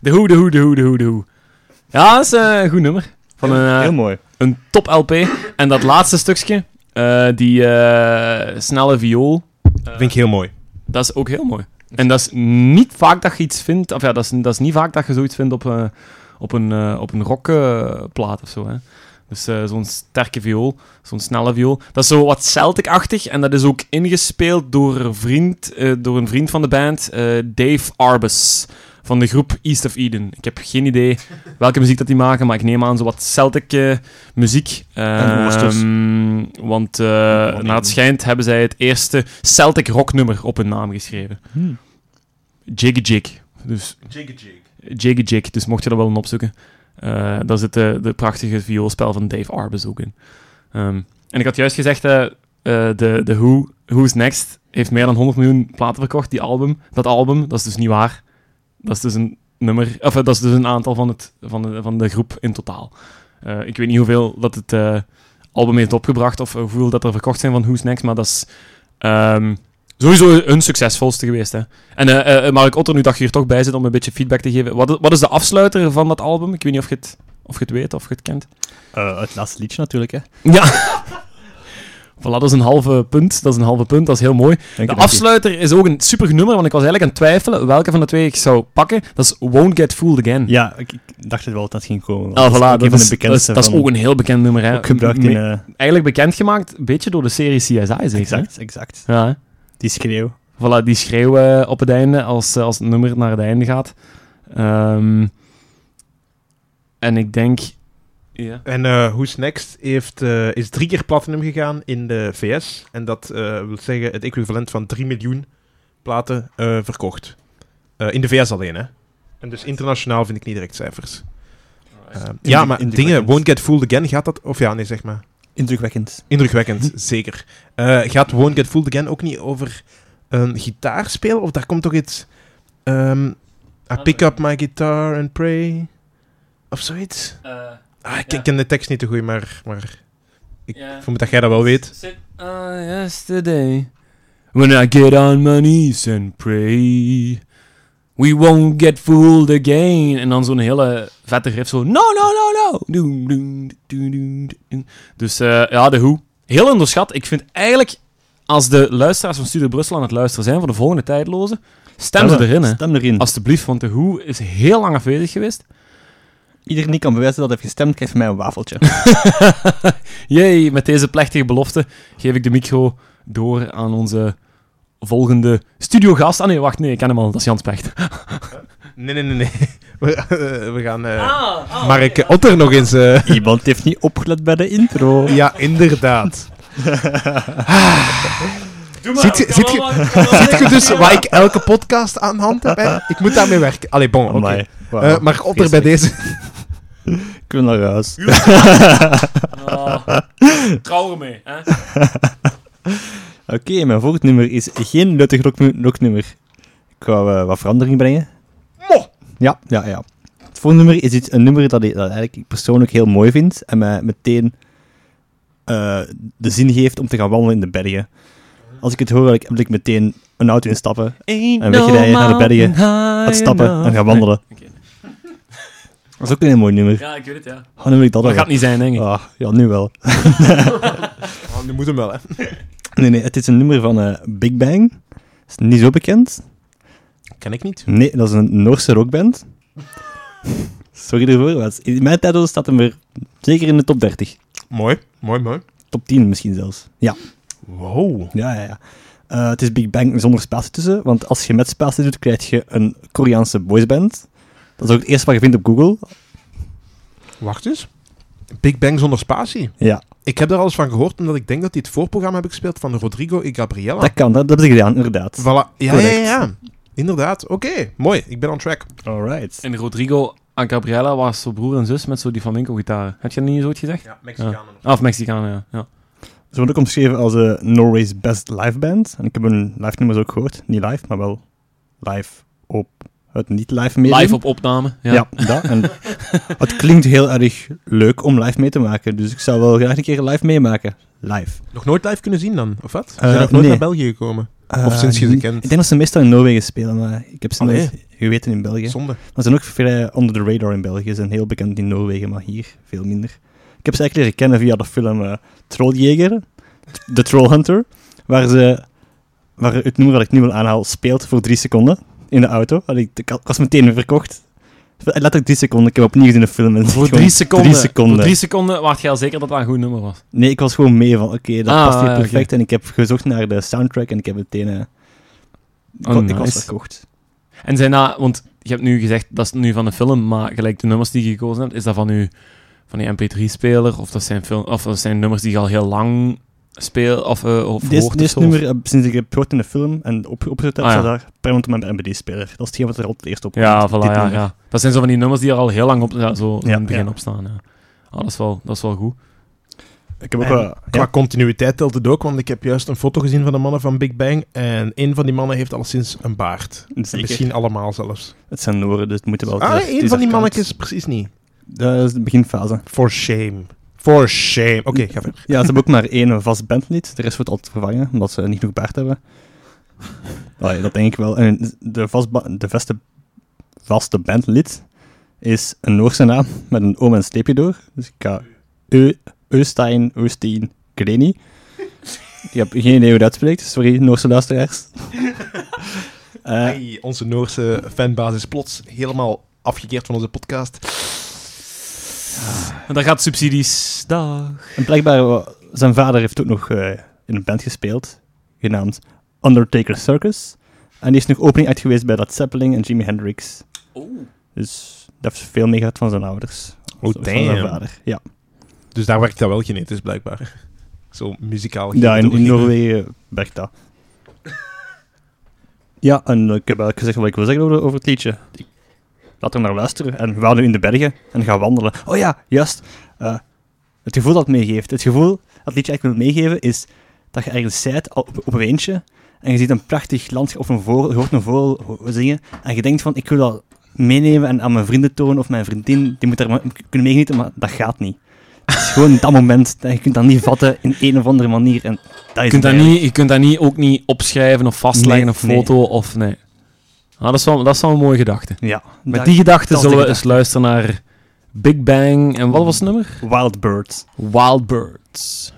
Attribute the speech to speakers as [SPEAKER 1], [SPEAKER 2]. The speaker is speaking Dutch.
[SPEAKER 1] De hoe, de hoe, de hoe, de hoe, de hoe. Ja, dat is eh, een goed nummer. Van een, eh,
[SPEAKER 2] Heel mooi.
[SPEAKER 1] een top LP. En dat laatste stukje, eh, die eh, snelle viool,
[SPEAKER 3] Eh.
[SPEAKER 2] Vind ik heel mooi.
[SPEAKER 1] dat is ook heel mooi. En dat is niet vaak dat je iets vindt, of ja, dat is, dat is niet vaak dat je zoiets vindt op, eh, op een, eh, op een rockplaat of zo. Hè. Dus eh, zo'n sterke viool, zo'n snelle viool. Dat is zo wat Celtic-achtig en dat is ook ingespeeld door een vriend, eh, door een vriend van de band, eh, Dave Arbus. Van de groep East of Eden. Ik heb geen idee welke muziek dat die maken, maar ik neem aan zo wat Celtic eh, muziek.
[SPEAKER 2] En worstels.
[SPEAKER 1] Ehm, want eh naar het schijnt hebben zij het eerste Celtic rocknummer op hun naam geschreven. Jiggy Jig. Dus Jiggy Jig. Dus mocht je dat wel een opzoeken. Eh, daar zit de, de prachtige vioolspel van Dave Arbus ook in. Ehm, en ik had juist gezegd, eh, eh, de, de Who, Who's Next heeft meer dan 100 miljoen platen verkocht, die album. Dat album, dat is dus niet waar. Dat is dus een nummer, of eh, dat is dus een aantal van, het, van, de, van de groep in totaal. Eh, ik weet niet hoeveel dat het eh, album heeft opgebracht, of hoeveel dat er verkocht zijn van Who's Next, maar dat is ehm, sowieso hun succesvolste geweest. Hè. En eh, eh, Mark Otter, nu dat je hier toch bij zit om een beetje feedback te geven, wat, wat is de afsluiter van dat album? Ik weet niet of je het, of je het weet, of je het kent.
[SPEAKER 2] Eh, het laatste liedje natuurlijk, hè.
[SPEAKER 1] Ja. Voilà, dat is een halve punt. Dat is een halve punt. Dat is heel mooi.
[SPEAKER 2] Dank
[SPEAKER 1] de
[SPEAKER 2] je, dank je.
[SPEAKER 1] afsluiter is ook een super nummer, want ik was eigenlijk aan het twijfelen welke van de twee ik zou pakken. Dat is Won't Get Fooled Again.
[SPEAKER 2] Ja, ik, ik dacht het wel dat dat ging komen.
[SPEAKER 1] Ah, voilà,
[SPEAKER 2] ook
[SPEAKER 1] dat,
[SPEAKER 2] een van de
[SPEAKER 1] is, dat, is,
[SPEAKER 2] bekendste
[SPEAKER 1] dat is
[SPEAKER 2] van-
[SPEAKER 1] ook een heel bekend nummer. Hè.
[SPEAKER 2] ook gebruikt in...
[SPEAKER 1] Me-
[SPEAKER 2] eh,
[SPEAKER 1] Eigenlijk bekendgemaakt, een beetje door de serie CSI, zeker.
[SPEAKER 2] exact, exact.
[SPEAKER 1] hè? Ja, hè.
[SPEAKER 2] Die schreeuw.
[SPEAKER 1] Voilà, die schreeuwen op het einde als, eh, als het nummer naar het einde gaat. Ehm, en ik denk... Ja.
[SPEAKER 3] En eh Who's Next heeft, eh, is drie keer platinum gegaan in de VS. En dat eh, wil zeggen het equivalent van 3 miljoen platen eh, verkocht. Eh, in de VS alleen, hè. En dus internationaal vind ik niet direct cijfers. Eh, ja,
[SPEAKER 2] Indruk-
[SPEAKER 3] maar dingen,
[SPEAKER 2] indrukwekkend.
[SPEAKER 3] Won't Get Fooled Again gaat dat... Of ja, nee, zeg maar.
[SPEAKER 2] Indrukwekkend.
[SPEAKER 3] Indrukwekkend, zeker. Eh, gaat Won't Get Fooled Again ook niet over een gitaar spelen? Of daar komt toch iets... ehm, I pick up my guitar and pray... Of zoiets? Ah, ik
[SPEAKER 1] Ja.
[SPEAKER 3] ik ken de tekst niet te goed, maar, maar ik
[SPEAKER 1] Ja.
[SPEAKER 3] vermoed dat jij dat wel weet.
[SPEAKER 1] Sit on Ah, yesterday. When I get on my knees and pray. We won't get fooled again. En dan zo'n hele vette riff zo. No, no, no, no. Doem, doem, doem, doem, doem. Dus eh, ja, de hoe. Heel onderschat. Ik vind eigenlijk, als de luisteraars van Studio Brussel aan het luisteren zijn voor de volgende tijdloze, stem ze
[SPEAKER 2] Ja,
[SPEAKER 1] erin, hè.
[SPEAKER 2] Stem erin. Als
[SPEAKER 1] Alsjeblieft, want de hoe is heel lang afwezig geweest.
[SPEAKER 2] iedereen die kan bewijzen dat hij heeft gestemd, krijgt van mij een wafeltje.
[SPEAKER 1] Jee, met deze plechtige belofte geef ik de micro door aan onze volgende studiogast. Ah nee, wacht, nee, ik ken hem al, dat is Jans Pecht.
[SPEAKER 3] Nee, nee, nee, nee. We, eh, we gaan eh,
[SPEAKER 1] Ah,
[SPEAKER 3] Mark Otter nog eens... eh,
[SPEAKER 2] Iemand heeft niet opgelet bij de intro.
[SPEAKER 3] ja, inderdaad. Ziet je- ziet je- Ziet je dus waar ik elke podcast aan hand heb? hè? Ik moet daarmee werken. Allee, bon, oké.
[SPEAKER 2] Amai. Wauw.
[SPEAKER 3] Eh, Mark Otter bij deze.
[SPEAKER 2] Kunnen we naar huis.
[SPEAKER 1] Ah, Trouw ermee, hè?
[SPEAKER 2] Oké, mijn volgend nummer is geen nuttig rocknu- rocknummer. Ik wou eh, wat verandering brengen. Ja, ja, ja. Het volgende nummer is iets, een nummer dat ik, dat eigenlijk ik persoonlijk heel mooi vind en mij meteen eh, de zin geeft om te gaan wandelen in de bergen. Als ik het hoor, wil ik, wil ik meteen een auto instappen, En wegrijden naar de bergen, gaan stappen en gaan wandelen. Dat is ook een heel mooi nummer.
[SPEAKER 1] Ja, ik weet het, ja.
[SPEAKER 2] Hoe noem ik dat
[SPEAKER 1] Dat
[SPEAKER 2] dan?
[SPEAKER 1] gaat niet zijn, denk ik.
[SPEAKER 2] Ah, ja, nu wel.
[SPEAKER 3] Oh, nu moet hem wel, hè.
[SPEAKER 2] Nee, nee, het is een nummer van eh, Big Bang. Is niet zo bekend.
[SPEAKER 3] Ken ik niet.
[SPEAKER 2] Nee, dat is een Noorse rockband. Sorry ervoor, maar het is- in mijn tijdel staat hem weer zeker in de top 30.
[SPEAKER 3] Mooi, mooi, mooi.
[SPEAKER 2] Top 10 misschien zelfs. Ja,
[SPEAKER 3] Wow.
[SPEAKER 2] ja, ja. ja. Eh, het is Big Bang zonder spatie tussen, want als je met spatie doet, krijg je een Koreaanse boysband. Dat is ook het eerste wat je vindt op Google.
[SPEAKER 3] Wacht eens. Big Bang zonder spatie.
[SPEAKER 2] Ja,
[SPEAKER 3] Ik heb daar alles van gehoord, omdat ik denk dat die het voorprogramma hebben gespeeld van Rodrigo en Gabriella.
[SPEAKER 2] dat kan, dat, dat heb ik gedaan, inderdaad.
[SPEAKER 3] Voilà. Ja, ja,
[SPEAKER 2] Correct.
[SPEAKER 3] ja. Inderdaad. Oké, mooi. Ik ben on track.
[SPEAKER 2] Alright.
[SPEAKER 1] En Rodrigo en Gabriella was zo broer en zus met zo die flamenco-gitaar. Heb je dat niet zoiets gezegd?
[SPEAKER 3] Ja,
[SPEAKER 1] Mexicanen Ah, of Mexicanen, ja. ja.
[SPEAKER 2] Ze worden ook omschreven als eh, Norway's best live band. En ik heb hun live nummers ook gehoord. Niet live, maar wel live op het niet-live medium.
[SPEAKER 1] Live op opname. Ja.
[SPEAKER 2] Ja, dat. En het klinkt heel erg leuk om live mee te maken. Dus ik zou wel graag een keer live meemaken. Live.
[SPEAKER 3] Nog nooit live kunnen zien dan, of wat? Ze
[SPEAKER 2] Eh,
[SPEAKER 3] zijn nog nooit
[SPEAKER 2] nee.
[SPEAKER 3] naar België gekomen.
[SPEAKER 2] Eh,
[SPEAKER 3] Of sinds je ze
[SPEAKER 2] niet-
[SPEAKER 3] kent.
[SPEAKER 2] Ik denk dat ze meestal in Noorwegen spelen, maar ik heb ze
[SPEAKER 3] Allee.
[SPEAKER 2] nooit geweten in België.
[SPEAKER 3] Zonde.
[SPEAKER 2] Maar ze zijn ook vrij onder de radar in België. Ze zijn heel bekend in Noorwegen, maar hier veel minder. Ik heb ze eigenlijk leren kennen via de film eh, Trolljäger, The Troll Hunter, waar, ze, waar het nummer dat ik nu wil aanhaal speelt voor drie seconden in de auto. Allee, Ik, ik was meteen verkocht. Letterlijk drie seconden. Ik heb opnieuw gezien de film. en
[SPEAKER 1] Voor
[SPEAKER 2] gewoon-
[SPEAKER 1] drie seconden.
[SPEAKER 2] drie seconden.
[SPEAKER 1] Voor drie seconden waart jij al zeker dat dat een goed nummer was.
[SPEAKER 2] Nee, ik was gewoon mee van, oké, dat
[SPEAKER 1] Ah,
[SPEAKER 2] past hier
[SPEAKER 1] ah, oké.
[SPEAKER 2] perfect. En ik heb gezocht naar de soundtrack en ik heb meteen... eh, ik,
[SPEAKER 1] Oh,
[SPEAKER 2] wa- ik was
[SPEAKER 1] nice.
[SPEAKER 2] verkocht.
[SPEAKER 1] En zijn dat, want je hebt nu gezegd dat is nu van een film, maar gelijk de nummers die je gekozen hebt, is dat van, uw, van die MP3-speler of, dat zijn film- of dat zijn nummers die je al heel lang speelt of, eh of
[SPEAKER 2] Dit
[SPEAKER 1] hoort? of
[SPEAKER 2] dit
[SPEAKER 1] zo?
[SPEAKER 2] nummer, eh, sinds ik heb gehoord in de film en op, opgezet heb,
[SPEAKER 1] Ah, ja.
[SPEAKER 2] staat daar permanent op mijn MBD-speler. Dat is hetgeen wat er altijd eerst op
[SPEAKER 1] Ja,
[SPEAKER 2] komt,
[SPEAKER 1] voilà,
[SPEAKER 2] dit
[SPEAKER 1] ja,
[SPEAKER 2] nummer.
[SPEAKER 1] ja. Dat zijn zo van die nummers die er al heel lang op, ja, zo in
[SPEAKER 2] Ja,
[SPEAKER 1] het begin
[SPEAKER 2] ja.
[SPEAKER 1] op staan. Ja. Ah, dat, is wel, dat is wel goed.
[SPEAKER 2] Ik heb ook
[SPEAKER 3] En
[SPEAKER 2] wel...
[SPEAKER 3] Qua
[SPEAKER 2] ja.
[SPEAKER 3] continuïteit telt het ook, want ik heb juist een foto gezien van de mannen van Big Bang. En een van die mannen heeft alleszins een baard.
[SPEAKER 2] zeker.
[SPEAKER 3] Misschien allemaal zelfs.
[SPEAKER 2] Het zijn Noren, dus het moeten wel... het
[SPEAKER 3] Ah,
[SPEAKER 2] is- het
[SPEAKER 3] een
[SPEAKER 2] is
[SPEAKER 3] van die
[SPEAKER 2] arcade.
[SPEAKER 3] mannetjes precies niet.
[SPEAKER 2] Dat is de beginfase.
[SPEAKER 3] For shame. For shame. Oké, ga verder.
[SPEAKER 2] Ja, ze hebben ook maar één vast bandlid. De rest wordt altijd vervangen, omdat ze niet genoeg baard hebben. Allee, dat denk ik wel. En de, vast ba- de vaste, vaste bandlid is een Noorse naam met een oom en een streepje door. Dus ik ga Eu- Eustein, Eustein, Greni. Ik heb geen idee hoe dat uitspreekt. Sorry, Noorse luisteraars. Eh,
[SPEAKER 3] Hey, onze Noorse fanbasis plots helemaal afgekeerd van onze podcast.
[SPEAKER 1] En dan gaat subsidies. Dag.
[SPEAKER 2] En blijkbaar, wa- zijn vader heeft ook nog eh, in een band gespeeld, genaamd Undertaker Circus. En die is nog opening act geweest bij Led Zeppelin en Jimi Hendrix. Dus dat heeft veel mee gehad van zijn ouders.
[SPEAKER 3] Oh,
[SPEAKER 2] Of Van zijn
[SPEAKER 3] damn.
[SPEAKER 2] vader, ja.
[SPEAKER 3] Dus daar werkt dat wel genetisch, blijkbaar. Zo muzikaal.
[SPEAKER 2] Ja, in, in
[SPEAKER 3] genetisch.
[SPEAKER 2] Noorwegen werkt dat. Ja, en ik heb eigenlijk gezegd wat ik wil zeggen over, over het liedje. Ik- Laat er naar luisteren. En we gaan nu in de bergen en gaan wandelen. Oh ja, juist. Eh, het gevoel dat het meegeeft. Het gevoel dat het liedje eigenlijk wil meegeven is dat je ergens zijt al op, op een eentje en je ziet een prachtig landschap of een vogel, je hoort een vogel ho- zingen en je denkt van ik wil dat meenemen en aan mijn vrienden tonen of mijn vriendin, die moet daar maar- kunnen meegenieten, maar dat gaat niet. Het is gewoon dat moment, dat je kunt dat niet vatten in een of andere manier en dat is
[SPEAKER 1] Je kunt, dat
[SPEAKER 2] het eigenlijk.
[SPEAKER 1] niet, je kunt dat niet, ook niet opschrijven of vastleggen
[SPEAKER 2] Nee,
[SPEAKER 1] of foto of nee. Ah, dat, is wel, dat is wel een mooie gedachte.
[SPEAKER 2] Ja,
[SPEAKER 1] Met
[SPEAKER 2] dat-
[SPEAKER 1] die gedachte
[SPEAKER 2] dat is
[SPEAKER 1] zullen
[SPEAKER 2] de
[SPEAKER 1] we dus eens luisteren naar Big Bang en wat was het nummer?
[SPEAKER 2] Wild Birds.
[SPEAKER 1] Wild Birds.